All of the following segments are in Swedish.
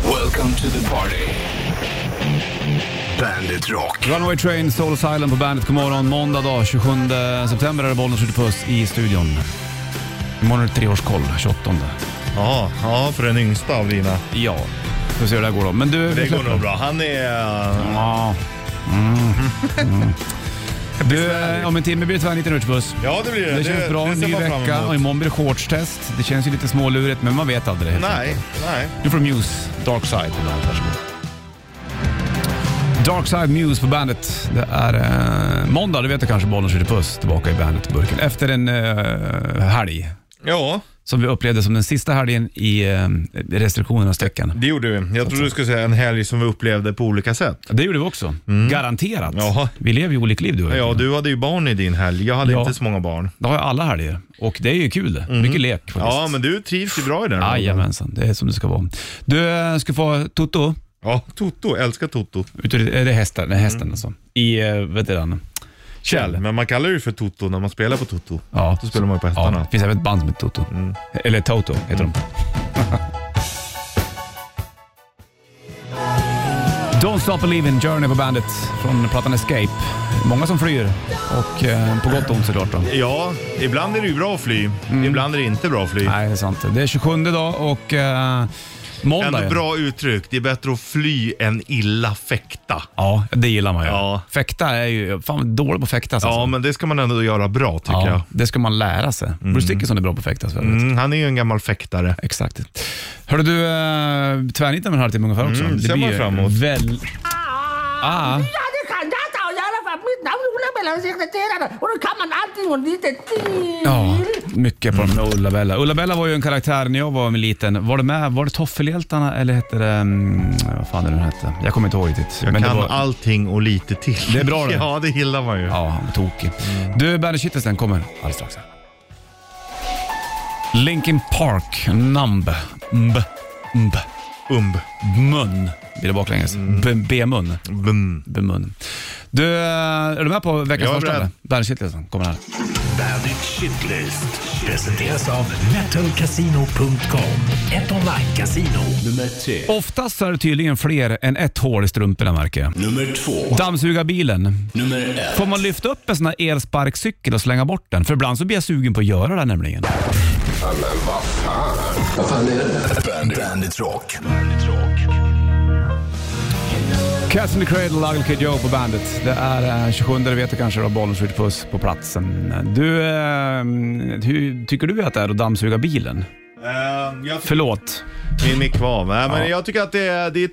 Welcome to the party. Bandit Rock. Runaway Train, Soul Island på bandet. God morgon. Måndag dag, 27 september är det Bollnäs skjuter puss i studion. Imorgon är det treårskoll, 28. Ja, ja, för den yngsta av dina. Ja, vi får se hur det här går då. Men du, Det vi går släpper- nog bra. Han är... Ja. Mm. Mm. Du, eh, om en timme blir det tvärniten urtsbuss. Ja, det blir det. Det känns bra, en ser ny man fram vecka emot. och imorgon blir det shortstest. Det känns ju lite smålurigt, men man vet aldrig. Nej, nej. Du får Muse, Dark Side på bandet. Varsågod. Dark Side Muse på bandet. Det är eh, måndag, du vet det kanske, Bollnäs skjuter puss tillbaka i bandet-burken. Efter en eh, helg Ja, som vi upplevde som den sista helgen i eh, restriktionernas tecken. det gjorde vi. Jag trodde du skulle säga en helg som vi upplevde på olika sätt. Det gjorde vi också, garanterat. Mm. Jaha. Vi lever ju olika liv du och jag. Ja, du hade ju barn i din helg. Jag hade Ja. inte så många barn. Det har jag alla helger och det är ju kul. Mycket lek faktiskt. Mhm. Ja, men du trivs ju bra i den. rollen. Jajamensan, det är som det ska vara. Du eh, ska få Toto, Ja, Toto. Älskar Toto. ut ur, är det hästen, det är hästen Mm. alltså, i, eh, vet du den? Kjell. Men man kallar det ju för Toto när man spelar på Toto. Ja. Då spelar man ju på Ja, det hästarna. Mm. finns även ett band som heter Toto. Eller Toto heter de. Don't Stop Believin' Journey på bandet från plattan Escape. Många som flyr och eh, på gott och ont såklart. Då. Ja, ibland är det ju bra att fly. Ibland är det inte bra att fly. Mm. Nej, det är sant. Det är 27 dag och eh, måndag. Ändå ju. bra uttryck. Det är bättre att fly än illa fäkta. Ja, det gillar man ju. Ja. Fäkta är ju... Fan, vad dålig på att fäktas Ja, alltså. men det ska man ändå göra bra tycker jag. Ja, det ska man lära sig. Bruce Dickinson är bra på att fäktas. Mm. Mm, han är ju en gammal fäktare. Exakt. Hörde du, eh, tvärnitten om en halvtimme ungefär också. Mm, ser man ju fram emot. Väl... Ah, Ja, det kan jag ta och göra för att mitt namn är Ola Bella och sekreterare och då kan man allting och lite till. ja, mycket på mm. Ulla-Bella. Ulla-Bella var ju en karaktär när jag var liten. Var det med, var det Toffelhjältarna eller hette det, mm, vad fan är det nu hette? Jag kommer inte ihåg riktigt. Jag Men kan det var, allting och lite till. Det är bra det. Ja, det gillar man ju. Ja, han var tokig. Mm. Du, Bandet Kittelsen kommer alldeles strax. här. Linkin Park, Numb, Mb, Mb, Umb. Mun. Blir det baklänges? Mm. B- B-mun. Bum. Bemun. Du, eh, är du med på veckans Jag är första? beredd. Bandet Kittelsen kommer här. Bandit Shitlist. Presenteras av metalcasino.com. Ett online-casino. Nummer tre. Oftast så är det tydligen fler än ett hål i strumporna märker jag. Nummer två. Dammsugarbilen. Nummer ett. Får man lyfta upp en sån här elsparkcykel och slänga bort den? För ibland så blir jag sugen på att göra det här nämligen. Bandit, Bandit Rock. Cats in the Cradle, Ugly Kid Joe på bandet. Det är eh, 27, det vet du kanske, då, bollen skjuter puss på platsen. Du, eh, hur tycker du att det är att dammsuga bilen? Ehm, jag- Förlåt. Min mick var av. Nej, men jag tycker att det är... Det är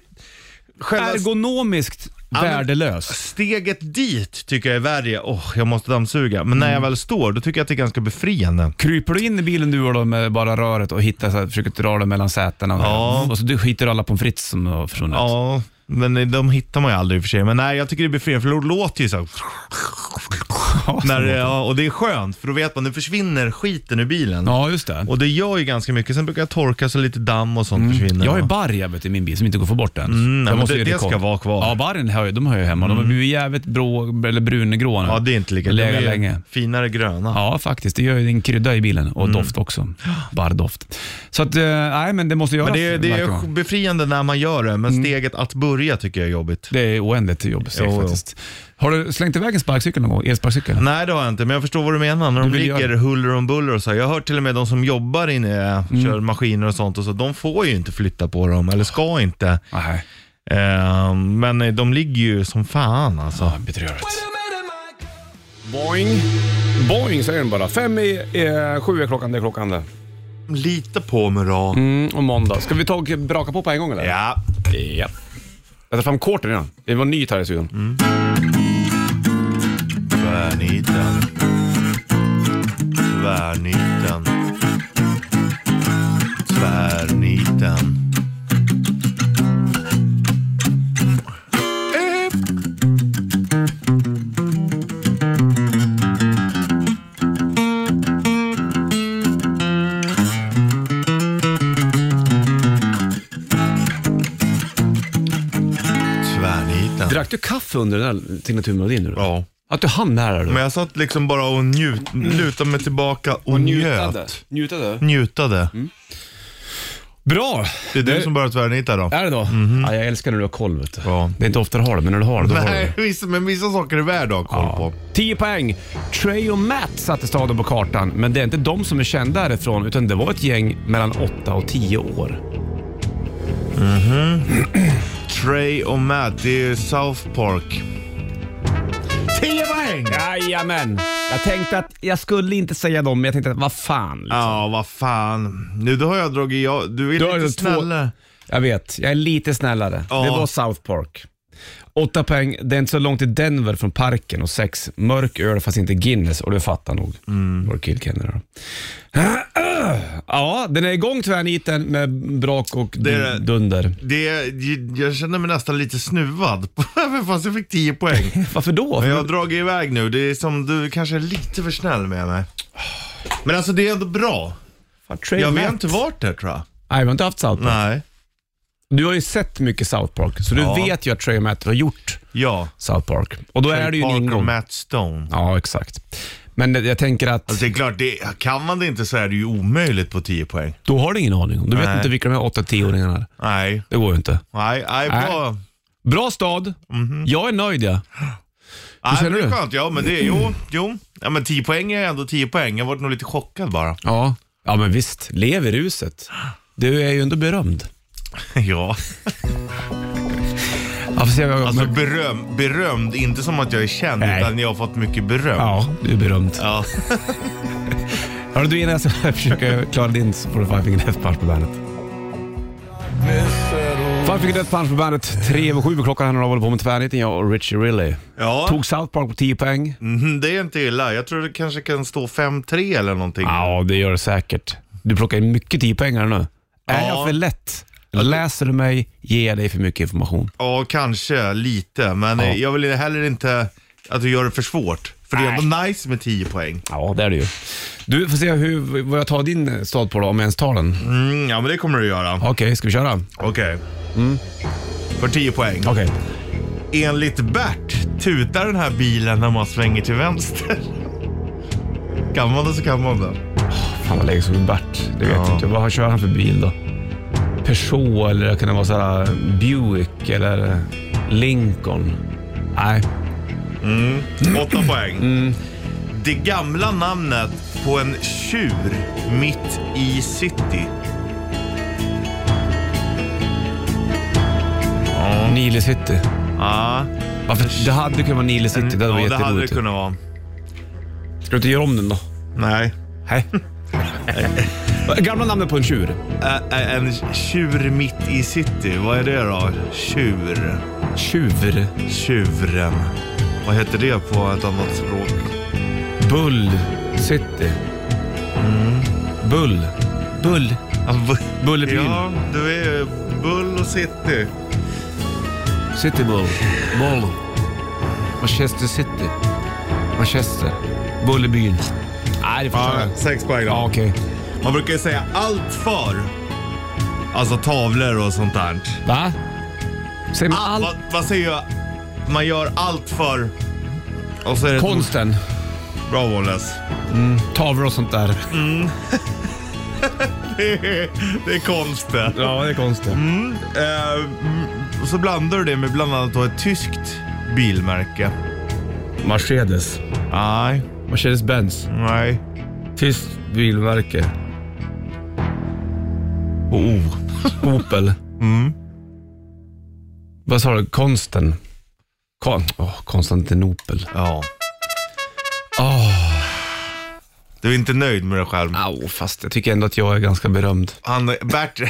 själva Ergonomiskt men- värdelös. steget dit tycker jag är värre. Åh, jag måste dammsuga. Men Mm. när jag väl står, då tycker jag att det är ganska befriande. Kryper du in i bilen du och då med bara röret och hittar, så här, försöker dra det mellan sätena? och- Ja. Och så du skiter alla pommes frites som har försvunnit. Ja, men de hittar man ju aldrig i och för sig. Men nej, jag tycker det är befriande för då låter ju så här. Ja, så- När, det- ja, och det är skönt, för då vet man, nu försvinner skiten ur bilen. ja just det. Och det gör ju ganska mycket. Sen brukar jag torka så lite damm och sånt försvinner. Mm. Jag har ju barr jag vet, i min bil som inte går att få bort än. Mm, men det- det ska vara kvar. Mm. Ja, barren har jag, de har jag hemma. De har blivit jävligt brå, eller brungråa nu. Ja, det är inte lika. De Legat är ju länge. finare gröna. Ja, faktiskt. Det gör ju en krydda i bilen Mm. och doft också. Barrdoft. Så att, eh, nej men det måste göras. Men det, är- det märker är man. befriande när man gör det, Mm. men steget att börja tycker jag är jobbigt. det är oändligt jobb Jo, jo. faktiskt. Har du slängt iväg en sparkcykel någon gång? Elsparkcykel? Nej, det har jag inte, men jag förstår vad du menar. När de Du vill ligger göra- huller om buller och så. här. Jag har hört till och med de som jobbar inne, eh, Mm. kör maskiner och sånt, och så, de får ju inte flytta på dem, eller ska inte. Nej, Eh, men eh, de ligger ju som fan alltså. bedrövligt. Boing. Boing säger den bara. Fem i eh, sju är klockan, det är klockan det. Lita på mig då. Mm, och måndag. Ska vi ta och braka på på en gång eller? Ja. Ja. Mm. Jag tar fram korten redan. Det var nytt här i studion. Tvärniten. Tvärniten. Tvärniten. Tvärniten. Drack du kaffe under den där Tina Turner-melodin nu då? Ja. Att du hann med det här då? Men jag satt liksom bara och Mm. njut, lutade mig tillbaka och, njöt. Njutade? Njutade. Bra! Mm. Det är du som börjar tvärnita då. Är det då? Ja, jag älskar när du har koll vet du. Ja. Det är inte ofta du har det, men när du har det, då har du det. Nej, vissa, men vissa saker är värda att ha koll på. 10 poäng. Trey och Matt satte staden på kartan, men det är inte de som är kända härifrån, utan det var ett gäng mellan 8 och 10 år. Trey och Matt, det är ju South Park. 10 poäng! Jajamän! Jag tänkte att jag skulle inte säga dem, men jag tänkte att vad fan. Ja, vad fan. Nu då har jag dragit... Jag, du alltså är Du har lite ju två- snällare. Jag vet, jag är lite snällare. Ja. Det var South Park. 8 poäng. Det är inte så långt till Denver från parken och 6. Mörk öl fast inte Guinness och du fattar nog. Mm. Vår kill Kenny då. Ja, den är igång tvärniten med brak och Det är det. dunder. Det, jag känner mig nästan lite snuvad. Även fast jag fick 10 poäng. Varför då? Men jag har dragit iväg nu. Det är som du kanske är lite för snäll med mig. Men alltså det är ändå bra. Fan, Trey Jag vet Matt. inte vart det tror jag. Nej, vi har inte haft South Park. Nej. Du har ju sett mycket South Park, så du Ja. vet ju att Trey och Matt har gjort Ja. South Park. Och då är det ju en Parker och ingång. Matt Stone. Ja, exakt. Men jag tänker att Alltså det är klart, det, kan man det inte så är det ju omöjligt på 10 poäng. då har du ingen aning om. Du vet Nej. inte vilka de här 8-10-åringarna är. Nej, Det går ju inte. nej, nej. Nej. Bra. Bra stad. Jag är nöjd jag. nej känner det är du? skönt. Ja, men det är jo, jo. Ja, men 10 poäng är ändå 10 poäng. Jag var nog lite chockad bara. Ja. Ja, men visst. Lev i ruset. Du är ju ändå berömd. ja, Ja, får se vad jag... alltså beröm, berömd. Inte som att jag är känd, Nej. utan jag har fått mycket beröm. ja, du är berömd. Ja. Hörru du, innan jag ska försöka klara din så får du Five Finger Death Punch på bandet. Five Finger Death Punch på bandet. Tre över sju på klockan här när du håller på med tvärniten, jag och Richie Rilly. Ja. Tog South Park på 10 poäng. Mhm, det är inte illa. Jag tror det kanske kan stå 5-3 eller någonting. Ja, det gör det säkert. Du plockar in mycket 10 poäng här nu. Är Ja. jag för lätt? Läser du mig, ger jag dig för mycket information. Ja, kanske lite. Men eh, jag vill heller inte att du gör det för svårt. För det är ändå nice med 10 poäng. Ja, det är det ju. Du får se hur, vad jag tar din stad på då, om jag ens tar den. Mm, ja, men det kommer du göra. Okej, ska vi köra? Okej. Mm. För 10 poäng. Okej. Enligt Bert tutar den här bilen när man svänger till vänster. Kan man det så kan man det. Fan vad lägger som Bert. Det vet jag inte. Vad kör han för bil då? Peugeot eller kan det vara sådär Buick eller eh, Lincoln? Nej. 8 poäng. Mm. Det gamla namnet på en tjur mitt i city. Nile City. Ja, Varför? Det hade kunnat vara Nile City. Mm. Det hade ja varit det hade det jätteroligt. kunnat vara. Ska du inte göra om den då? Nej. Nej. Gamla namnet på en tjur. Ä- ä- en tjur mitt i city, vad är det då? Tjur. Tjur. Tjuren. Vad heter det på ett annat språk? Bull City. Mm. Bull. Bull. Alltså, bu- Bullerbyn. Ja, du är ju Bull och City. City Bull. Bull. Manchester City. Manchester. Bullerbyn. Nej, det förstår jag. sex poäng Ja, okej. Man brukar ju säga allt för. Alltså tavlor och sånt där. Va? Säger man allt? Vad, vad säger jag? Man gör allt för... Och så är det Konsten, Bra Wallace. tavlor och sånt där. Det är, det är konst det. Ja, det är konsten. Eh, mm, och så blandar du det med bland annat då ett tyskt bilmärke. Mercedes. Nej, Mercedes-Benz. nej. Tyst bilmärke. Oh. Opel. Vad sa du? Konsten? Kon oh, Konstantinopel. Ja. Du är inte nöjd med dig själv? Au, fast jag tycker ändå att jag är ganska berömd. Han, Bert,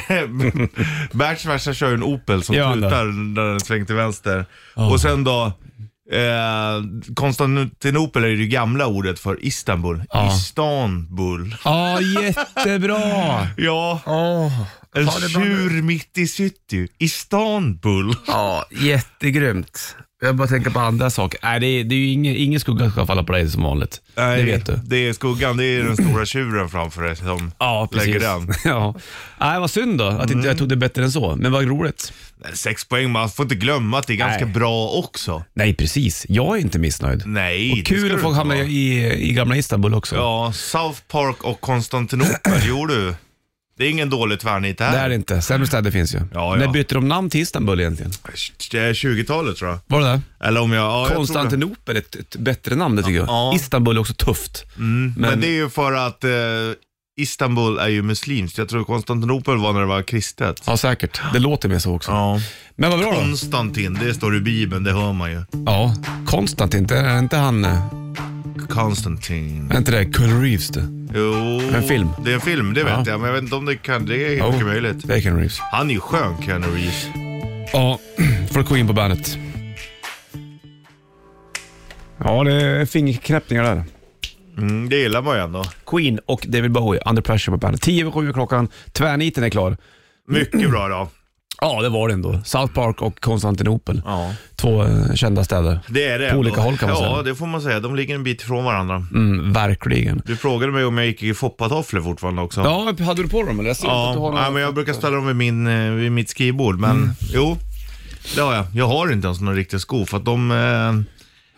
Berts farsa kör ju en Opel som Ja, han slutar när den svänger till vänster. Och sen då, eh, Konstantinopel är ju det gamla ordet för Istanbul. Istanbul. Ja, jättebra! Ja, Oh. en tjur mitt i city. Istanbul. Ja, jättegrymt. Jag bara tänker på andra saker. Nej, det är, det är ju ingen, ingen skugga ska falla på dig som vanligt. det vet du. Det är skuggan, det är den stora tjuren framför dig som Ja, precis. lägger den. Ja. Nej, vad synd då att inte jag tog det bättre än så, men vad roligt. Nej, Sex poäng, man får inte glömma att det är ganska Nej. bra också. Nej, precis. Jag är inte missnöjd. Nej, det och ska kul du att få inte hamna vara. i, i gamla Istanbul också. Ja, South Park och Konstantinopel, jo du. Det är ingen dålig tvärnit det Det är här. det inte. Sämre städer finns ju. ja. När bytte de namn till Istanbul egentligen? Det är 20-talet tror jag. Var det det? Eller om jag... Ja, jag tror det. Konstantinopel är ett, ett bättre namn det tycker jag. Ja. Mm. Istanbul är också tufft. Men... det är ju för att eh, Istanbul är ju muslimskt. Jag tror Konstantinopel var när det var kristet. Ja, säkert. Det låter mer så också. Ja. Men vad bra då. Konstantin, det står i Bibeln, det hör man ju. Ja, Konstantin, det är inte han... eh, Konstantin. Är inte det Keanu Reeves det? Jo. En film. Det är en film, det vet Ja. jag. Men jag vet inte om det kan... Det är mycket möjligt. det är Keanu Reeves. Han är ju skön, Keanu Reeves. Ja, får gå in på bandet. Ja, det är fingerknäppningar där. Mm, det gillar man ju ändå. Queen och David Bowie, Under Pressure på bandet. 10 över 7 är klockan, tvärniten är klar. Mycket bra då. Ja, det var det ändå. South Park och Konstantinopel. Ja. Två eh, kända städer. Det är det. På ändå. olika håll kan man Ja, säga. det får man säga. De ligger en bit ifrån varandra. Mm, verkligen. Du frågade mig om jag gick i foppatofflor fortfarande också. Ja, hade du på dem eller? Jag ser inte att Ja, du har några- nej, men jag brukar ställa dem vid, min, eh, vid mitt skrivbord, men Mm. jo, det har jag. Jag har inte ens några riktiga skor för att de, eh,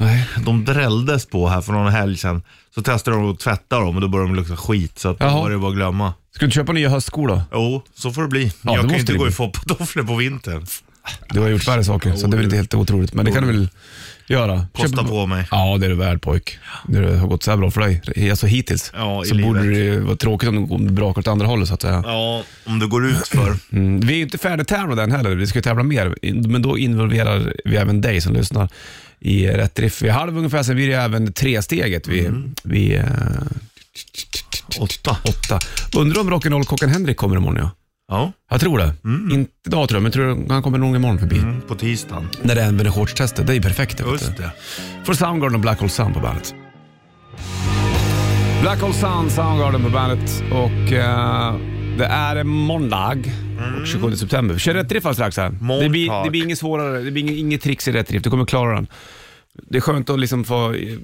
Nej. de drälldes på här för någon helg sedan. Så testade de att tvätta dem och då började de lukta skit så att då Jaha. var det bara att glömma. Ska du inte köpa nya höstskor då? Jo, så får det bli. det jag kan ju måste inte det gå i bli. foppatofflor på vintern. Du har gjort värre saker, så det är väl inte helt otroligt. Men det kan du väl göra? Kosta Köp- på mig. Ja, det är du värd pojk. När det har gått så här bra för dig, alltså hittills, Ja, i så livet. borde det ju vara tråkigt om det- om det brakar åt andra hållet så att säga. Ja, om det går ut för. Mm, vi är ju inte färdigtävlade än heller, vi ska ju tävla mer. Men då involverar vi även dig som lyssnar i rätt riff. Vid halv ungefär, sen blir det även tresteget vid, Mm. vid eh, Åtta. åtta. Undrar om rock'n'roll-kocken Henrik kommer imorgon ja. Ja, Jag tror det. Inte idag tror jag, men tror han kommer nog imorgon förbi. mm, på tisdagen. När det använder shortstestet, det är ju perfekt. det, vet du. Just det. För Soundgarden och Black Hole Sun på bandet. Black Hole Sun, Soundgarden på bandet och eh, det är måndag. Mm. och 27 september. Vi kör rätt riff alldeles strax här. Måndag. Det blir, det blir inget svårare, det blir inget, inget tricks i rätt riff. Du kommer klara den. Det är skönt att liksom få eh,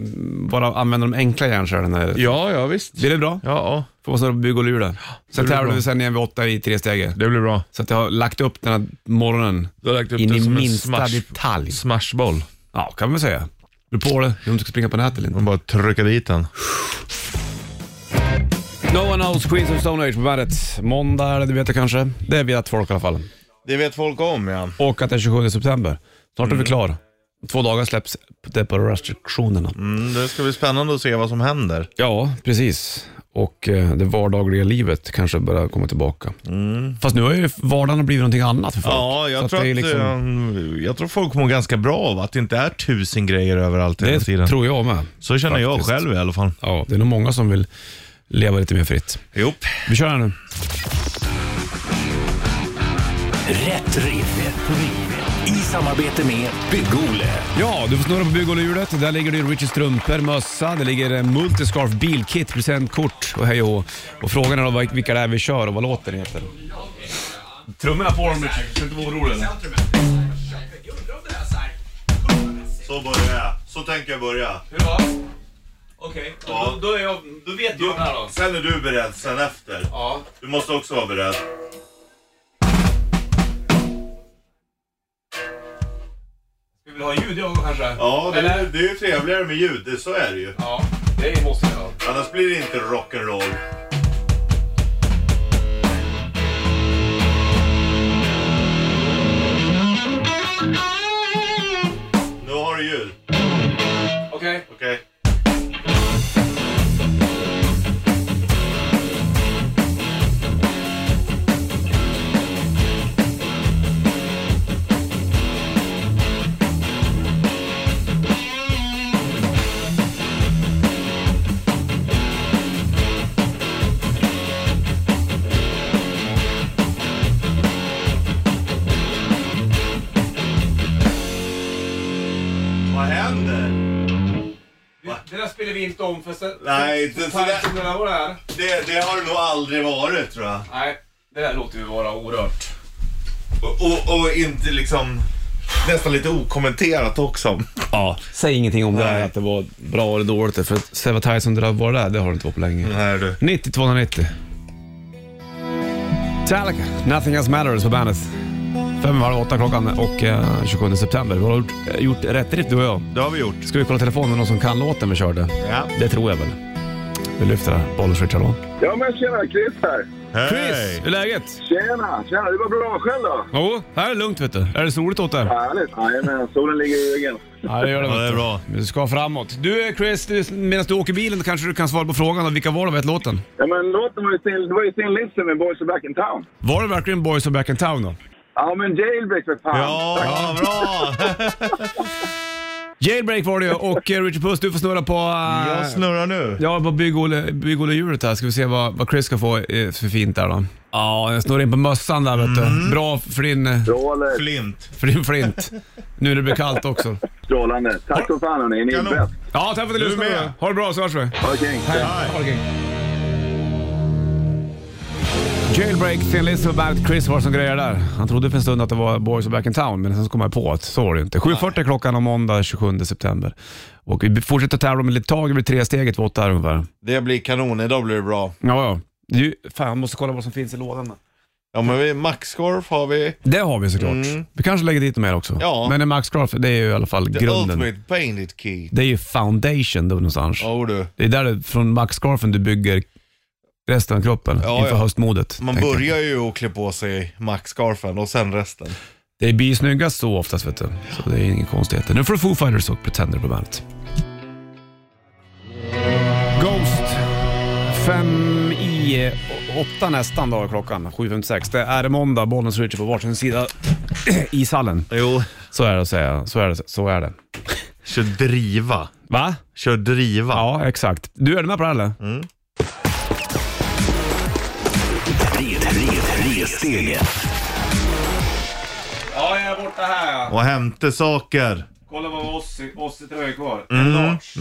bara använda de enkla hjärncellerna. Ja, ja visst. Blir det bra? Ja, ja. Får man snurra på bygg och lur där. Sen blir tävlar bra. vi sen igen vid åtta i tre steg. Det blir bra. Så att jag har lagt upp den här morgonen Du har lagt upp in det i som en minsta smash- detalj. Smashboll. Ja, kan man säga. Du på det, om du ska springa på nätet eller inte. Man bara trycka dit den. No one knows Queens of Stone Age på bandet. Måndag är det, du vet det kanske. Det vet folk i alla fall. Det vet folk om ja. Och att det är 27 september. Snart är Mm. vi klar. Två dagar släpps det på restriktionerna. Mm, det ska bli spännande att se vad som händer. Ja, precis. Och eh, det vardagliga livet kanske börjar komma tillbaka. Fast nu har ju vardagen blivit någonting annat för folk. Mm. Ja, Så jag tror, det att, är liksom- eh, jag tror folk mår ganska bra av att det inte är tusen grejer överallt hela Det tiden. tror jag med. Så känner jag faktiskt. själv i alla fall. Ja, det är nog många som vill leva lite mer fritt. Jo. Vi kör här nu. Rätt riff. Rätt riff. I samarbete med Bygg-Ole. Ja, du får snurra på bygghjulet. Där ligger det Richie strumpor, mössa, det ligger en multiscarf, bilkit, presentkort och hej och hå. Och frågan är då vil- vilka det är vi kör och vad låten heter. Trummorna på dem Richie, du inte vara orolig. Så börjar jag. Så tänker jag börja. Okej, Ja. då, vet jag här då. Sen är du beredd, sen efter. Ja. Du måste också vara beredd. Vi vill ha ljud jag kanske? Ja, det, är- det är ju trevligare med ljud. Det, så är det ju. Ja, det måste jag ha. Annars blir det inte rock'n'roll. Nu har du ljud. Okej. Okej. Vad händer? Det där spelar vi inte om för sen... Nej, inte sådär. sådär. Det, det har det nog aldrig varit tror jag. Nej, det där låter vi vara orört. Och, och, och inte liksom... Nästan lite okommenterat också. Ja, säg ingenting om det här Nej. att det var bra eller dåligt. För att Seva Thaiss som det där var där, det har det inte varit på länge. Nej du. 90-290. Metallica, Nothing Else Matters på bandet. Fem var åtta klockan och eh, 27 september. Vi har gjort, eh, gjort rätt riff du och jag. Det har vi gjort. Ska vi kolla telefonen, någon som kan låten vi körde? Ja. Det tror jag väl. Vi lyfter här, Bollers Richard Ja men tjena, Chris här. Hej. Chris, hur är läget? Tjena, tjena. Det var bra. Själv då? Jo, här är det lugnt vet du. Är det soligt åt dig? Härligt. Jajamän, solen ligger i ryggen. Ja, det gör det. Ja, vet det är du. bra. Vi ska framåt. Du eh, Chris, du- medan du åker bilen kanske du kan svara på frågan om vilka var de vet låten? Ja, men låten var ju Sten, det var ju Sten Lipsen med Boys Are Back In Town. Var det verkligen Boys of Back in Town då? Ja, men Jailbreak för fan. Ja, bra! Jailbreak var det ju och eh, Richard Puss du får snurra på... eh, Jag snurrar nu. Ja, på bygg-Olle- bygg-Olle-hjulet här. Ska vi se vad, vad Chris ska få eh, för fint där då. Ja, jag snurrar in på mössan där vet du. Bra för din, Strålet, Flint. för din flint. Nu när det blir kallt också. strålande. Tack så fan hörni, ni är Kanon. bäst. Ja, tack för att du Du lyssnade. med. Ha det bra så hörs vi. Ha det kring. Hej. Jailbreak, Thin Lizzy och bandet Chris var som grejer där. Han trodde för en stund att det var Boys of Back in Town, men sen så kom jag på att så var det ju inte. 7.40 klockan om måndag 27 september. Och vi fortsätter tävla om ett litet tag, det blir tre steget vid åtta här ungefär. Det blir kanon, idag blir det bra. Ja, ja. Det är ju- Fan, jag måste kolla vad som finns i lådan. Ja men vi, Maxkorf har vi. Det har vi såklart. Vi kanske lägger dit mer också. Mm. Ja. Men en Max Craft, det är ju i alla fall The grunden. Ultimate Painted Key. Det är ju foundation då någonstans. Ja du. Det är där du- från Max Crafen du bygger resten av kroppen Ja, inför ja. höstmodet. Man tänker jag. börjar ju att klä på sig Maxscarfen och sen resten. Det blir ju snyggast så oftast vet du. Så det är ingen konstigheter. Nu får du Foo Fighters och Pretender på bandet. Ghost. Fem i eh, åtta nästan då är klockan. 7.56. Det är måndag. Bollnäs och Richie på varsin sida i sallen. Jo. Så är det att säga. Så är det. Så är det. Kör driva. Va? Kör driva. Ja, exakt. Du, är du med på det här, eller? Red, red, resstege. Ja, jag är borta här ja. Och hämta saker. Kolla vad Ossie-tröja är kvar.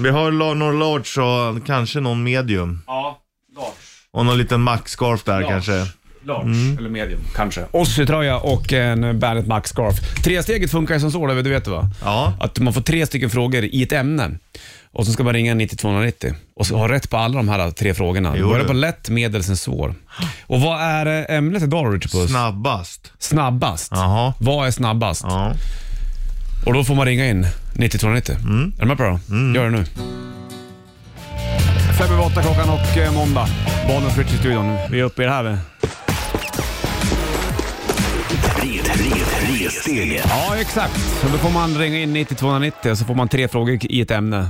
Vi har la- någon large och kanske någon medium. Ja, large. Och någon liten maxscarf där Large. kanske. Mm. Large, eller medium kanske. Ossie-tröja och en Bandet Max Scarf. Tresteget funkar ju som så, du vet det va? Ja. Att man får tre stycken frågor i ett ämne. Och så ska man ringa 9290 och så ha rätt på alla de här tre frågorna. Jo, Börja du. på lätt, medel, sen svår. Och vad är eh, ämnet idag Richard Puss? Snabbast. Snabbast. Jaha. Vad är snabbast? Ja. Och då får man ringa in 9290. Mm. Är du med på det då? Gör det nu. Fem över åtta klockan och eh, måndag. Bollnäs Rich i studion. Vi är uppe i det här. vi. Red, red, resstege. Ja, exakt. Och då får man ringa in 9290 och så får man tre frågor i ett ämne.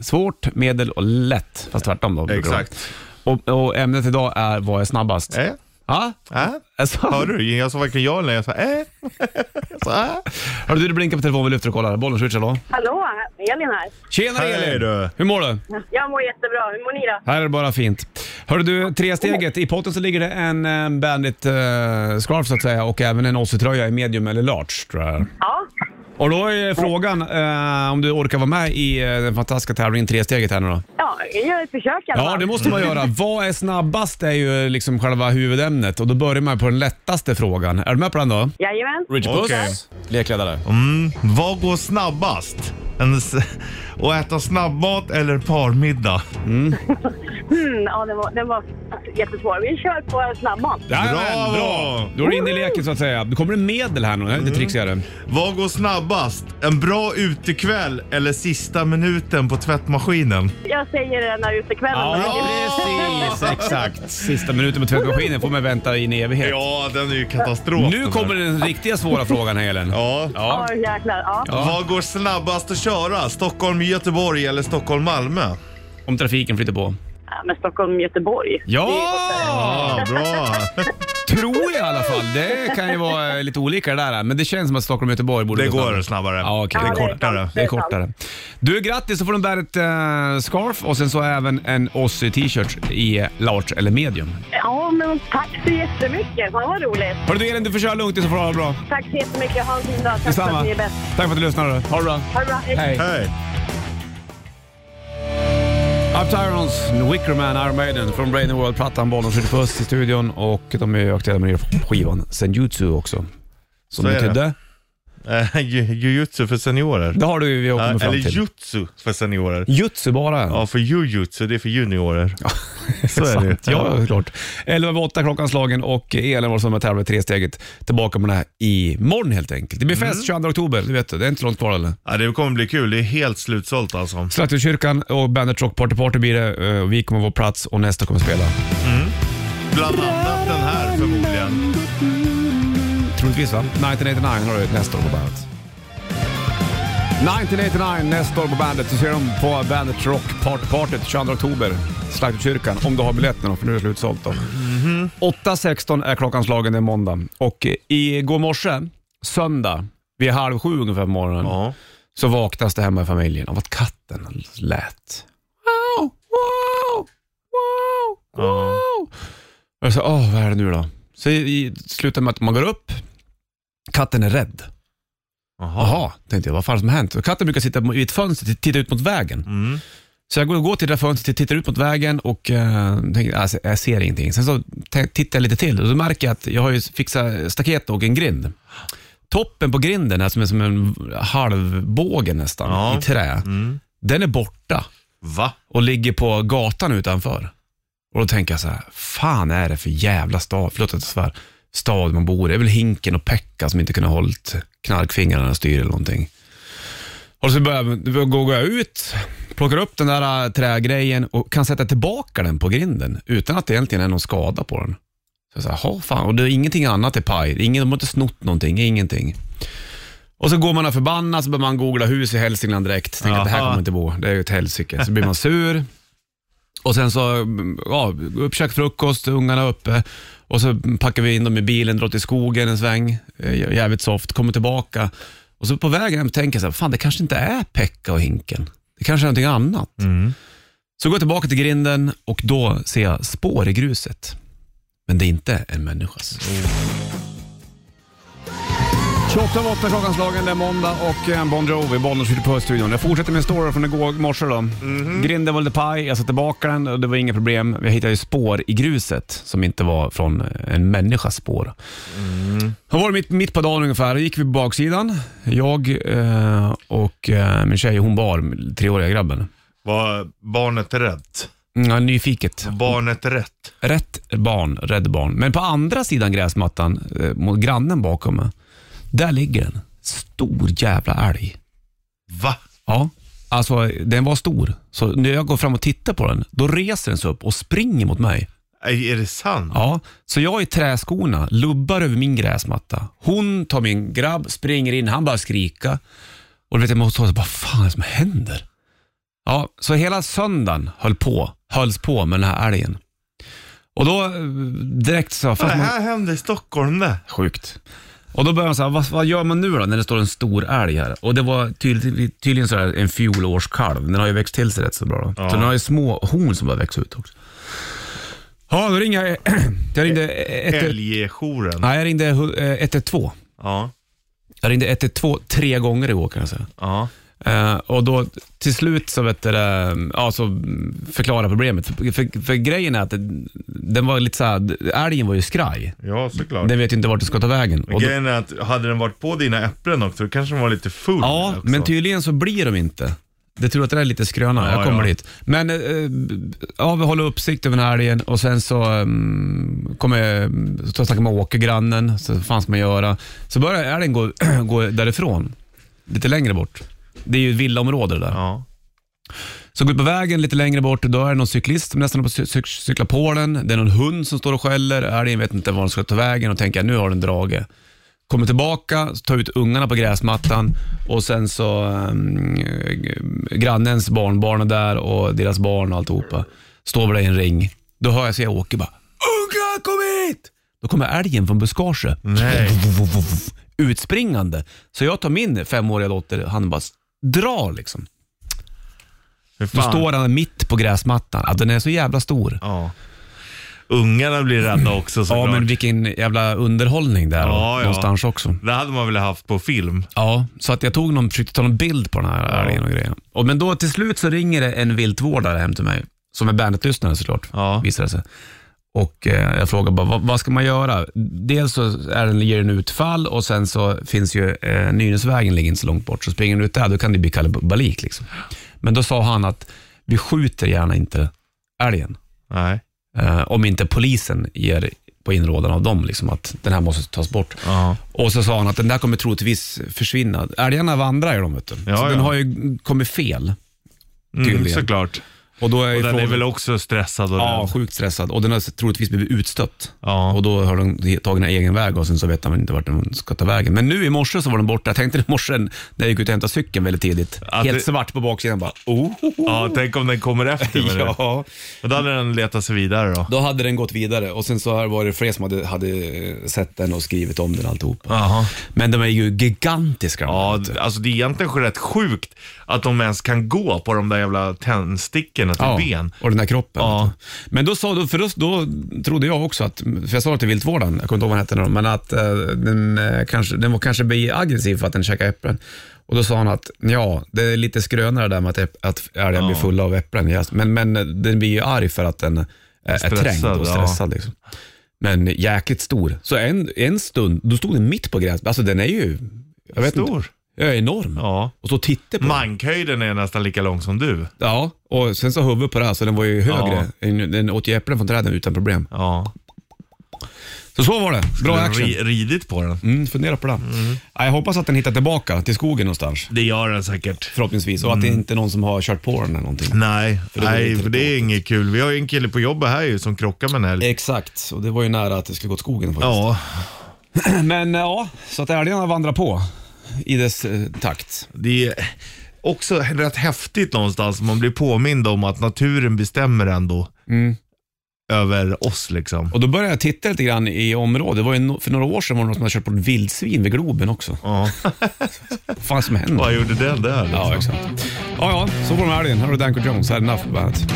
Svårt, medel och lätt. Fast tvärtom då. brukar det vara. Exakt. Och, och ämnet idag är vad är snabbast? Äh? Ja? Äh? Alltså, Hör du? Jag sa varken ja eller nej. Jag sa äh. Så, äh. Hörru du, det blinkar på telefonen. Vi lyfter och kollar. Bollnäs Rich, hallå? Hallå, Elin här. Tjena Hej, Elin! du. Hur mår du? Jag mår jättebra. Hur mår ni då? Här är det bara fint. Hörru du, tresteget. I potten så ligger det en, eh, Bandit eh, scarf så att säga och även en Aussie-tröja i medium eller large tror jag. Ja, Och då är frågan eh, om du orkar vara med i eh, den fantastiska tävlingen Tresteget här nu då. ja jag gör ett försök i alla Ja, fall. det måste man göra. Vad är snabbast är ju liksom själva huvudämnet och då börjar man på den lättaste frågan. Är du med på den då? Jajamän. Richard Puss, Okej. lekledare. Vad går snabbast? En s- och äta snabbmat eller parmiddag? Mm, ja, den var, den var jättesvår. Vi kör på snabbmat. Jajamän, Bravo! bra! Mm. Då är du inne i leken så att säga. Då kommer det medel här nu, det här är lite trixigare. Vad går snabbast? En bra utekväll eller sista minuten på tvättmaskinen? Jag säger den här utekvällen. Ja, precis. Exakt. Sista minuten på tvättmaskinen får man vänta in i evighet. Ja, den är ju katastrof. Nu kommer den riktiga svåra frågan här, Helen. Ja. Ja. Ja, jäklar. Ja. Vad går snabbast att köra? Stockholm-Göteborg eller Stockholm-Malmö? Om trafiken flyter på. Ja, Men Stockholm-Göteborg. Ja! Ja, Ah, bra. Tror jag i alla fall. Det kan ju vara eh, lite olika det där. Men det känns som att Stockholm och Göteborg borde Det gå går snabbare. Ja, okej. Det Ja, är kortare. det är sant. Det är kortare. Du, grattis! Så får du bära ett eh, scarf och sen så även en Ozzy t-shirt i eh, large eller medium. Ja, men tack så jättemycket. Fan vad roligt. Hörru du Elin, du får köra lugnt så får du ha det bra. Tack så jättemycket. Ha en fin dag. Tack för Detsamma. att ni är bäst. Tack för att du lyssnade. Ha det bra. Ha det bra. Hej. Hej. Up Tyrons, Wickerman, Iron Maiden från Brain World-plattan, Bollen skjuter puss i studion och de är ju aktuella med skivan Senjutsu också. Som Så är det. betydde? Eh, ju- Jujutsu för seniorer. Det har du ju vi har Eh, kommit Eller fram till. jutsu för seniorer. Jutsu bara. Ja, för jujutsu, det är för juniorer. så är det ju. Ja, ja, klart. 11 över 8 klockan slagen och Elin var som tävlar i tresteget. Tillbaka med det här imorgon helt enkelt. Det blir Mm. fest 22 oktober, du vet det. Det är inte långt kvar eller? Ja, det kommer bli kul. Det är helt slutsålt alltså. Slakthuskyrkan och Bandet Rock Party Party blir det. eh, och Vi kommer vara på plats och nästa kommer spela. Bland annat den här förmodligen. Troligtvis va? 1989 har du nästa år på bandet. 1989 nästa år på bandet. Du ser dem på bandet Rock Party Partyt 22 oktober. Slaktkyrkan, om du har biljetten då, för nu är det slutsålt då. Mm-hmm. 8.16 är klockan slagen, det är måndag. Och eh, igår morse, söndag, vid halv sju ungefär på morgonen, Ja. så vaknas det hemma i familjen av att katten lät. Wow, wow, wow, wow. Och jag sa, åh, vad är det nu då? Så i, i slutar med att man går upp, katten är rädd. Jaha. Jaha, tänkte jag, vad fan som har hänt? Och katten brukar sitta vid ett fönster och titta ut mot vägen. Mm. Så jag går, går till det där fönstret, tittar ut mot vägen och eh, tänker, alltså, jag ser ingenting. Sen så t- tittar jag lite till och då märker jag att jag har ju fixat staket och en grind. Toppen på grinden, är som är som en halvbåge nästan, Ja. Mm. i trä, den är borta Va? och ligger på gatan utanför. Och då tänker jag så här, fan är det för jävla stad, förlåt att jag svär, stad man bor i. Det är väl Hinken och Pekka som inte kunde ha hållit knarkfingrarna och styr eller någonting. Och så börjar jag- då går jag ut, plockar upp den där äh, trägrejen och kan sätta tillbaka den på grinden utan att det egentligen är någon skada på den. Så jag säger, jaha fan, och det är ingenting annat är paj. Ingen, de har inte snott någonting, ingenting. Och så går man och förbannas så börjar man googla hus i Hälsingland direkt. Tänker att det här Jaha. kommer inte bo, det är ju ett helsike. Så blir man sur. Och sen så, ja, upp, käka frukost, ungarna uppe. Och så packar vi in dem i bilen, drar till skogen en sväng. eh, Jävligt soft, kommer tillbaka. Och så på vägen hem tänker jag så här, fan det kanske inte är Pekka och Hinken. Det kanske är någonting annat. Så går jag tillbaka till grinden och då ser jag spår i gruset. Men det är inte en människas. 28 av 8 klockan slagen, det är måndag och eh, Bon Jovi, Bollnäs skjuter på studion. Jag fortsätter med story från igår morse då. Grinden var lite paj, jag satte tillbaka den och det var inga problem. Jag hittade ju spår i gruset som inte var från eh, en människas spår. Det var mitt, mitt på dagen ungefär, då gick vi på baksidan. Jag eh, och eh, min tjej, hon bar treåriga grabben. Var barnet rätt? Mm, ja, nyfiket. Barnet rätt? Rätt barn, rädd barn. Men på andra sidan gräsmattan, eh, mot grannen bakom mig, där ligger en stor jävla älg. Va? Ja, alltså den var stor. Så när jag går fram och tittar på den, då reser den sig upp och springer mot mig. Är är det sant? Ja, så jag i träskorna lubbar över min gräsmatta. Hon tar min grabb, springer in, han börjar skrika. Och du vet, jag måste ta vad fan är det som händer? Ja, så hela söndagen höll på, hölls på med den här älgen. Och då eh, direkt så... Det Fast man, här hände i Stockholm det. sjukt. Och då börjar man säga, vad, vad gör man nu då när det står en stor älg här? Och det var tydligen, tydligen sådär en fjolårskalv. Den har ju växt till sig rätt så bra. Då. Så den har ju små horn som börjar växa ut också. Ja, då ringer jag... Jag ringde... ett- Älgjouren. Nej, jag ringde hu- eh, 112. Ja. Jag ringde 112 tre gånger igår kan jag säga. Ja. Eh, och då till slut så vet du, det, ja, så mm, förklara problemet. För, för, för grejen är att det- den var lite så här, älgen var ju skraj. Ja, såklart. Den vet ju inte vart den ska ta vägen. Men Och då, Grejen är att hade den varit på dina äpplen också, då kanske den var lite full ja, också. men tydligen så blir de inte. Det tror jag att det där är lite skröna. jag Ja, kommer ja. dit. Men eh, ja, vi håller uppsikt över den här älgen och sen så um, kommer så snackar man med Åke, grannen, så vad fan ska man göra? Så börjar älgen gå, gå därifrån, lite längre bort. Det är ju ett villaområde det där. Ja. Så går ut på vägen lite längre bort, då är det någon cyklist som nästan håller på att cy- cy- cykla på den. Det är någon hund som står och skäller. Älgen vet inte var den ska ta vägen och tänker nu har den dragit. Kommer tillbaka, tar ut ungarna på gräsmattan och sen så um, grannens barnbarn är där och deras barn och alltihopa. Står väl i en ring. Då hör jag, så jag åker bara “Unga kom hit!” Då kommer älgen från buskage. Nej. Utspringande. Så jag tar min femåriga dotter, han bara s- drar liksom. Hur Då fan? står han mitt på gräsmattan. Ja, den är så jävla stor. Ja. Ungarna blir rädda också Ja, såklart. men vilken jävla underhållning där Ja, ja. någonstans också. Det hade man velat haft på film. Ja, så att jag tog någon, försökte ta någon bild på den här älgen och grejen. Och, men då till slut så ringer det en viltvårdare hem till mig, som är Bandet-lyssnare såklart, Ja. visar det sig. Och eh, jag frågar bara, vad, vad ska man göra? Dels så är den, ger den utfall och sen så finns ju eh, Nynäsvägen ligger inte så långt bort, så springer den ut där, då kan det bli kalabalik liksom. Men då sa han att vi skjuter gärna inte älgen. Nej. Eh, om inte polisen ger på inrådan av dem liksom, att den här måste tas bort. Ja. Och så sa han att den där kommer troligtvis försvinna. Älgarna vandrar ju de, vet du. Ja, så ja. den har ju kommit fel. Mm, Tydligen. såklart. Och då är Och den är frågan- väl också stressad och Ja, rädd. sjukt stressad. Och den har troligtvis blivit utstött. Ja. Och då har den tagit en egen väg och sen så vet man inte vart den ska ta vägen. Men nu i morse så var den borta. Jag tänkte i morse när jag gick ut och hämtade cykeln väldigt tidigt. Att Helt det- svart på baksidan bara. Oh, oh, oh. Ja, tänk om den kommer efter med det. Ja. Men Då hade den letat sig vidare då. Då hade den gått vidare och sen så här var det fler som hade, hade eh, sett den och skrivit om den alltihopa. Jaha. Men de är ju gigantiska. de här, Ja, vet du. alltså det är egentligen rätt sjukt att de ens kan gå på de där jävla tändstickorna till ben. Och den här kroppen. Ja. vet du. Men då, sa, då, för då, då trodde jag också att, för jag sa det till viltvårdaren, jag kommer inte ihåg vad han hette nu, men att eh, den, eh, kanske, den var kanske blir aggressiv för att den käkar äpplen. Och då sa han att ja, det är lite skrönare där med att, äpp- att älgar blir fulla av äpplen. ja. Men, men eh, den blir ju arg för att den eh, är Stressad, trängd och ja. stressad. Liksom. Men jäkligt stor. Så en, en stund, då stod den mitt på gräset. Alltså den är ju... Jag vet Inte, Stor. jag är enorm. Ja. Och så tittade på den. Mankhöjden är nästan lika lång som du. Ja, och sen så huvudet på det här, så den var ju högre. Den- Den åt ju äpplen från träden utan problem. Ja. Så så var det. Bra Du har action. ri- Ridit på den. Mm, fundera på det. Ja, jag hoppas att den hittar tillbaka till skogen nåstans. Det gör den säkert. Förhoppningsvis. Och att det inte är någon som har kört på den eller någonting. Nej, det blir nej lite för det är inget kul. Vi har ju en kille på jobbet här ju som krockar med en älg. Exakt, och det var ju nära att det skulle gå åt skogen faktiskt. Ja, Men eh, ja, så att älgarna vandrar på i dess eh, takt. det är också rätt häftigt någonstans. Man blir påmind om att naturen bestämmer ändå. Över oss liksom. Och då började jag titta lite grann i området. Det var ju no- för några år sedan var det någon som hade kört på ett vildsvin vid Globen också. Ja. Vad fan som händer? Vad gjorde den där? Liksom? Ja, exakt. Ja, ja, så går de här in. Här har du Danko Jones, Had Enough på bandet.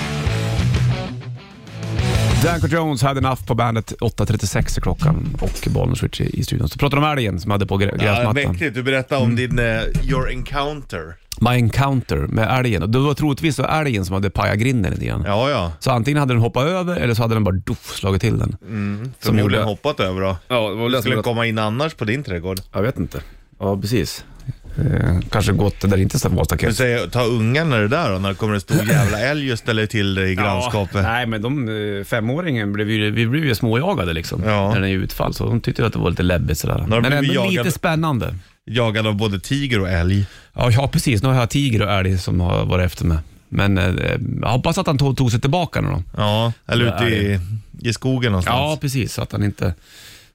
Danko Jones, Had Enough på bandet. 8.36 är klockan och Bollnäs Switch i studion. Så pratar de om älgen som hade på grä- Ja, gräsmattan. mäktigt. Du berättade om din, eh, your encounter. My encounter med älgen. Och det var troligtvis så älgen som hade pajat grinden lite grann. Ja, ja. Så antingen hade den hoppat över eller så hade den bara doff, slagit till den. Mm, Som gjorde- gjorde hoppat över då. Ja, det var Skulle den komma in annars på din trädgård? Jag vet inte. Ja, precis. Eh, kanske gått där det inte var Du staket. säger, ta ungarna när det där då, när det kommer en stor jävla älg och ställer till det i grannskapet. nej, men de eh, femåringen blev ju, vi blev ju småjagade liksom. Ja. När den är utfall, så de tyckte ju att det var lite läbbigt sådär. de Men ändå blev jagade- lite spännande. Jagad av både tiger och älg. Ja, ja, precis. Nu har jag tiger och älg som har varit efter mig. Men eh, jag hoppas att han tog, tog sig tillbaka nu då. Ja, eller ute i, i skogen Ja, någonstans. precis. Så att han inte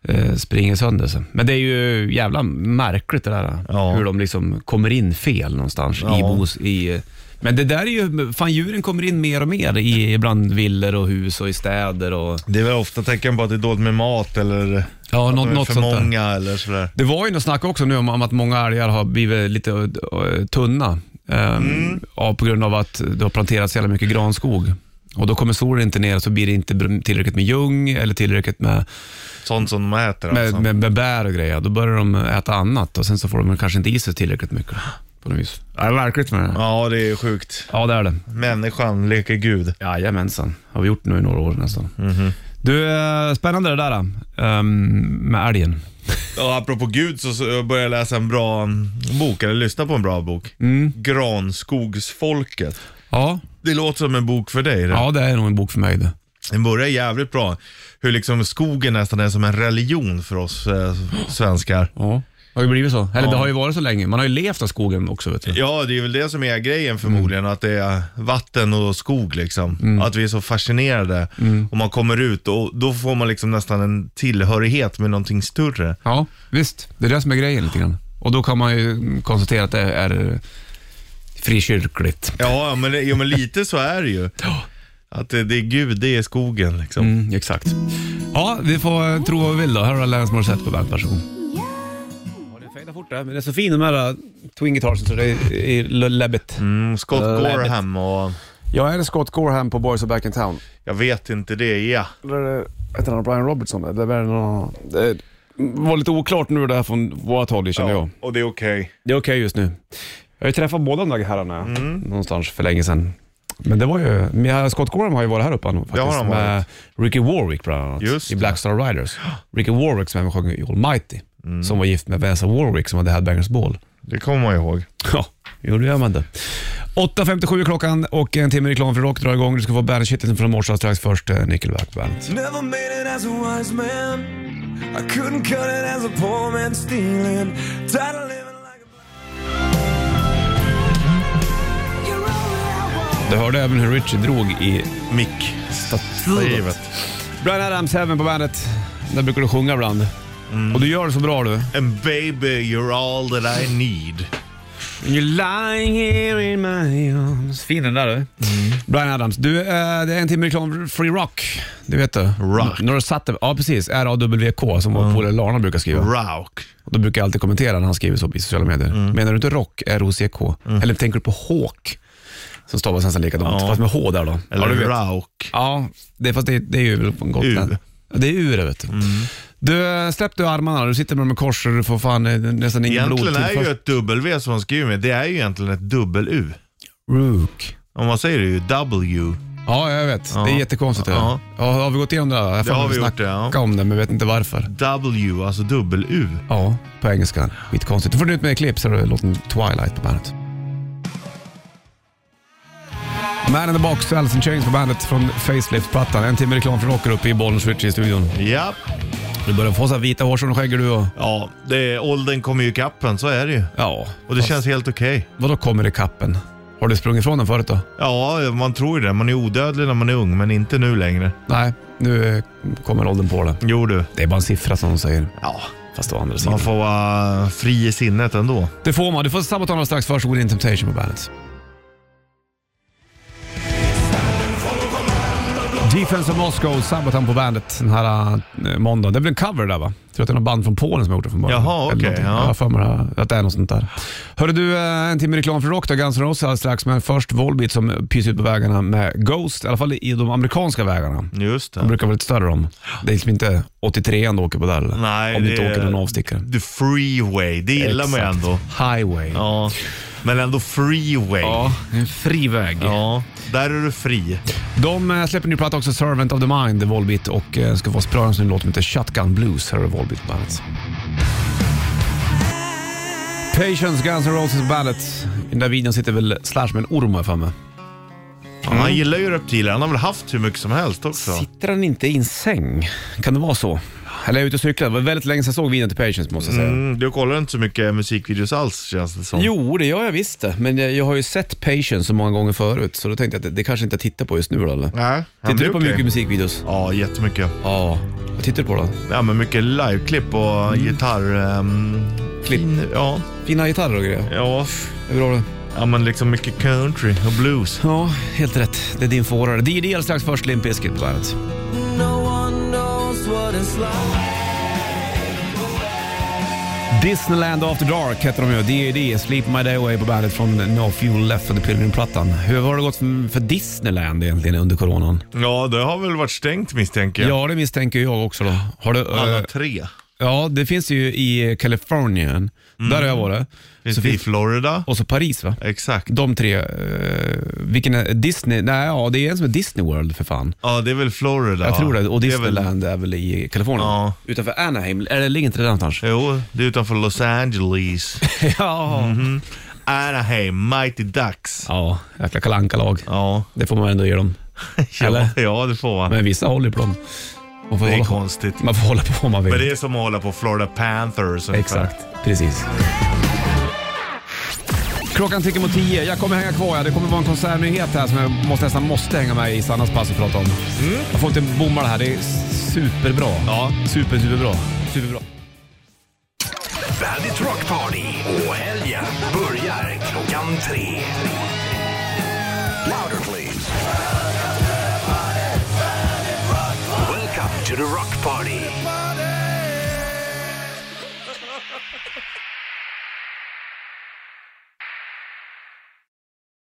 eh, springer sönder sig. Men det är ju jävla märkligt det där. Ja. Hur de liksom kommer in fel någonstans i Ja. bos... I, eh, men det där är ju, fan djuren kommer in mer och mer i ibland villor och hus och i städer och... Det är väl ofta tecken på att det är dåligt med mat eller Ja, att något- de är något för sånt där. många eller sådär. Det var ju något snack också nu om, om att många älgar har blivit lite eh, tunna eh, ja, på grund av att det har planterats så jävla mycket granskog. Och då kommer solen inte ner så blir det inte br- tillräckligt med ljung eller tillräckligt med, Sånt som de äter alltså. med, med, med bär och grejer. Då börjar de äta annat och sen så får de kanske inte i sig tillräckligt mycket. På något vis. Ja, det är verkligt med det. Ja. Ja, det är sjukt. ja, det är det. Människan leker gud. Jajamensan. Har vi gjort nu i några år nästan. Du, eh, spännande det där eh, med älgen. Och apropå gud så så började jag läsa en bra mm, bok, eller lyssna på en bra bok. Mm. Granskogsfolket. Ja. Det låter som en bok för dig. det. ja, det är nog en bok för mig det. Den börjar jävligt bra. Hur liksom skogen nästan är som en religion för oss eh, svenskar. Ja, det har ju blivit så. Eller Ja. det har ju varit så länge. Man har ju levt av skogen också. Vet du. Ja, det är väl det som är grejen förmodligen, Mm. att det är vatten och skog liksom. Att vi är så fascinerade. Mm. Och man kommer ut och då får man liksom nästan en tillhörighet med någonting större. Ja, visst. Det är det som är grejen lite grann. Och då kan man ju konstatera att det är frikyrkligt. Ja, men, det- ja, men lite så är det ju. Att det, det är Gud, det är skogen liksom. Mm, exakt. Ja, vi får eh, tro vad vi vill då. Här har Lance Morissette på bandet. Varsågod. Ja, det fejdar fort där, men det är så fint med de här eh, twin guitarsen så det är, är läbbigt. Mm, Scott Läbbigt. Gorham och Jag är det Scott Gorham på Boys of Back in Town? jag vet inte det ja. Eller är det, heter han Brian Robertson? Eller är det någon... Det var lite oklart nu det här från vårt håll känner jag. Och det är okej. Det är okej just nu. Jag har ju träffat båda de där herrarna Mm. någonstans för länge sedan. Men det var ju, men Scott Gorham har ju varit här uppe nu faktiskt. har han varit. Med Ricky Warwick bland annat Just i det. Black Star Riders. Ricky Warwick som även sjöng i Almighty. Mm. Som var gift med Vanessa Warwick som hade Headbangers Ball. Det kommer man ihåg. Ja, jo det gör man det. 8.57 är klockan och en timme reklam för rock drar igång. Du ska få bandet från morse strax först eh, Nickelback på bandet. Never made it as a wise man. I couldn't cut it as a poor man stealing. Tired of living like a black. You're all I want. Du hörde även hur Richie drog i Mick. stativet. Bryan Adams, Heaven på bandet. Där brukar du sjunga ibland. Och du gör det så bra du. And baby you're all that I need. You're lying here in my arms. Fin den där Mm. du. Bryan Adams. Du, eh, det är en timme reklam Free Rock. Det vet du. Rock. När du satte, ja precis. R-A-W-K som vår polare Larna brukar skriva. Rock. Mm. Och då brukar jag alltid kommentera när han skriver så i sociala medier. Menar du inte rock, R-O-C-K? Eller tänker du på hawk? Som stavas nästan likadant, Ja. fast med H där då. ja, du Eller vet. Rauk. Ja, det, är- fast det, det är ju på Gotland. U. Mm. Ja, Det är ur det vet du. Du, eh, släpp du armarna. Du sitter med dem i kors och du får fan eh, nästan ingen Egentligen är ju blodtillförsel. ett W som man skriver med, det är ju egentligen ett dubbel-U. Rook. Om man säger det ju W. Ja, jag vet. Det är Ja. jättekonstigt. det här. Ja. Ja, har vi gått igenom det? här? Jag Det har fan vi gjort, snacka ja. om det, men vet inte varför. W, alltså dubbel-U. Ja, på engelska. Skitkonstigt. Du får nytt med Eclipse och låten Twilight på bandet. Man in the box, Alice in Chains på bandet från Facelift-plattan. En timme reklam för rocker uppe i Bollnäs Ritchie i studion. Ja. Du börjar få så här vita hårstrån och skägg du och... Ja, det är, åldern kommer ju i kappen, så är det ju. Ja. Och det känns helt okej. Vadå kommer i kappen? Har du sprungit ifrån den förut då? Ja, man tror ju det. Man är odödlig när man är ung, men inte nu längre. Nej, nu eh, kommer åldern på den. Jo du. Det är bara en siffra som de säger. Ja, Fast å andra sidan. man får vara fri i sinnet ändå. Det får man. Du får Sabaton strax. Varsågod in Temptation på bandet. Defense of Moscow, Sabaton på bandet den här eh, måndagen. Det blir en cover där va? Jag tror att det är något band från Polen som har gjort det från början. Jaha, Eller okej, någonting. ja. Jag har för mig att det är något sånt där. Hörru du, eh, en timme reklam för rock då. Guns N' Roses alldeles strax, men först Volbeat som pyser ut på vägarna med Ghost. I alla fall i de amerikanska vägarna. Just De det. brukar vara lite större de. Det är liksom inte 83an du åker på där eller? Nej, Om du inte det är- åker någon avstickare. The freeway, det gillar man ju Exakt. ändå. Highway. Ja, men ändå freeway. Ja. en fri väg. där är du fri. De eh, släpper ny platta också, Servant of the Mind, Volbeat, och eh, ska få spröra en sån låt som heter Shotgun Blues. Här är Volbeat Bandet. Patience, Guns N' Roses Bandet. I den där videon sitter väl Slash med en orm har jag för mig. Ja, Han gillar ju reptiler. Han har väl haft hur mycket som helst också. Sitter han inte i en säng? Kan det vara så? Eller jag är ute och cyklar. Det var väldigt länge sedan jag såg videon till Patience måste jag säga. Mm, du kollar inte så mycket musikvideos alls känns det som. Jo, det gör jag visst det. Men jag, jag har ju sett Patience så många gånger förut, så då tänkte jag att det, det kanske inte jag tittar på just nu då, eller? Nej, Tittar men det du är på okej. mycket musikvideos? Ja, jättemycket. Ja. Vad tittar du på då? Ja, men mycket liveklipp och gitarr... ehm, Mm. Klipp. fin- Ja, Fina gitarrer och grejer. ja. Hur bra det? Ja, men liksom mycket country och blues. Ja, helt rätt. Det är din förare. Det är det strax först Limp Bizkit på bandet. No one knows what it's like. Disneyland After Dark heter de ju. D.E.D. Sleep My Day Away på bandet från No Fuel Left och The Pilgrim-plattan. Hur har det gått för, för Disneyland egentligen under coronan? Ja, det har väl varit stängt misstänker jag. Ja, det misstänker jag också då. Har du, eh, Alla tre. ja, det finns ju i Kalifornien. Där har jag varit. Finns Så det i Mm. finns, Florida? och så Paris va? Exakt. De tre. eh, vilken är Disney? Nej, ja, det är en som är Disney World för fan. Ja, det är väl Florida? Jag va? tror det. Och är väl- Disneyland är väl i Kalifornien? Ja. Utanför Anaheim, eller ligger inte det där någonstans? Jo, det är utanför Los Angeles. ja. Anaheim, Mighty Ducks. Ja, jäkla kalanka lag Ja, Det får man ändå ge dem. Eller? ja, ja det får man. Men vissa håller ju på dem. Man får, Det är hålla, på. konstigt. man får hålla på om man vill. Men det är som att hålla på Florida Panthers ungefär. Exakt, precis. Klockan tickar mot tio. Jag kommer hänga kvar. Ja. Det kommer vara en konsertnyhet här som jag måste, nästan måste hänga med i Sannas pass och prata om. Jag får inte bomma det här. Det är superbra. Ja. Super, superbra. Superbra. Bandit Rock Party och helgen börjar klockan tre. Louder please. Welcome to the Rock Party.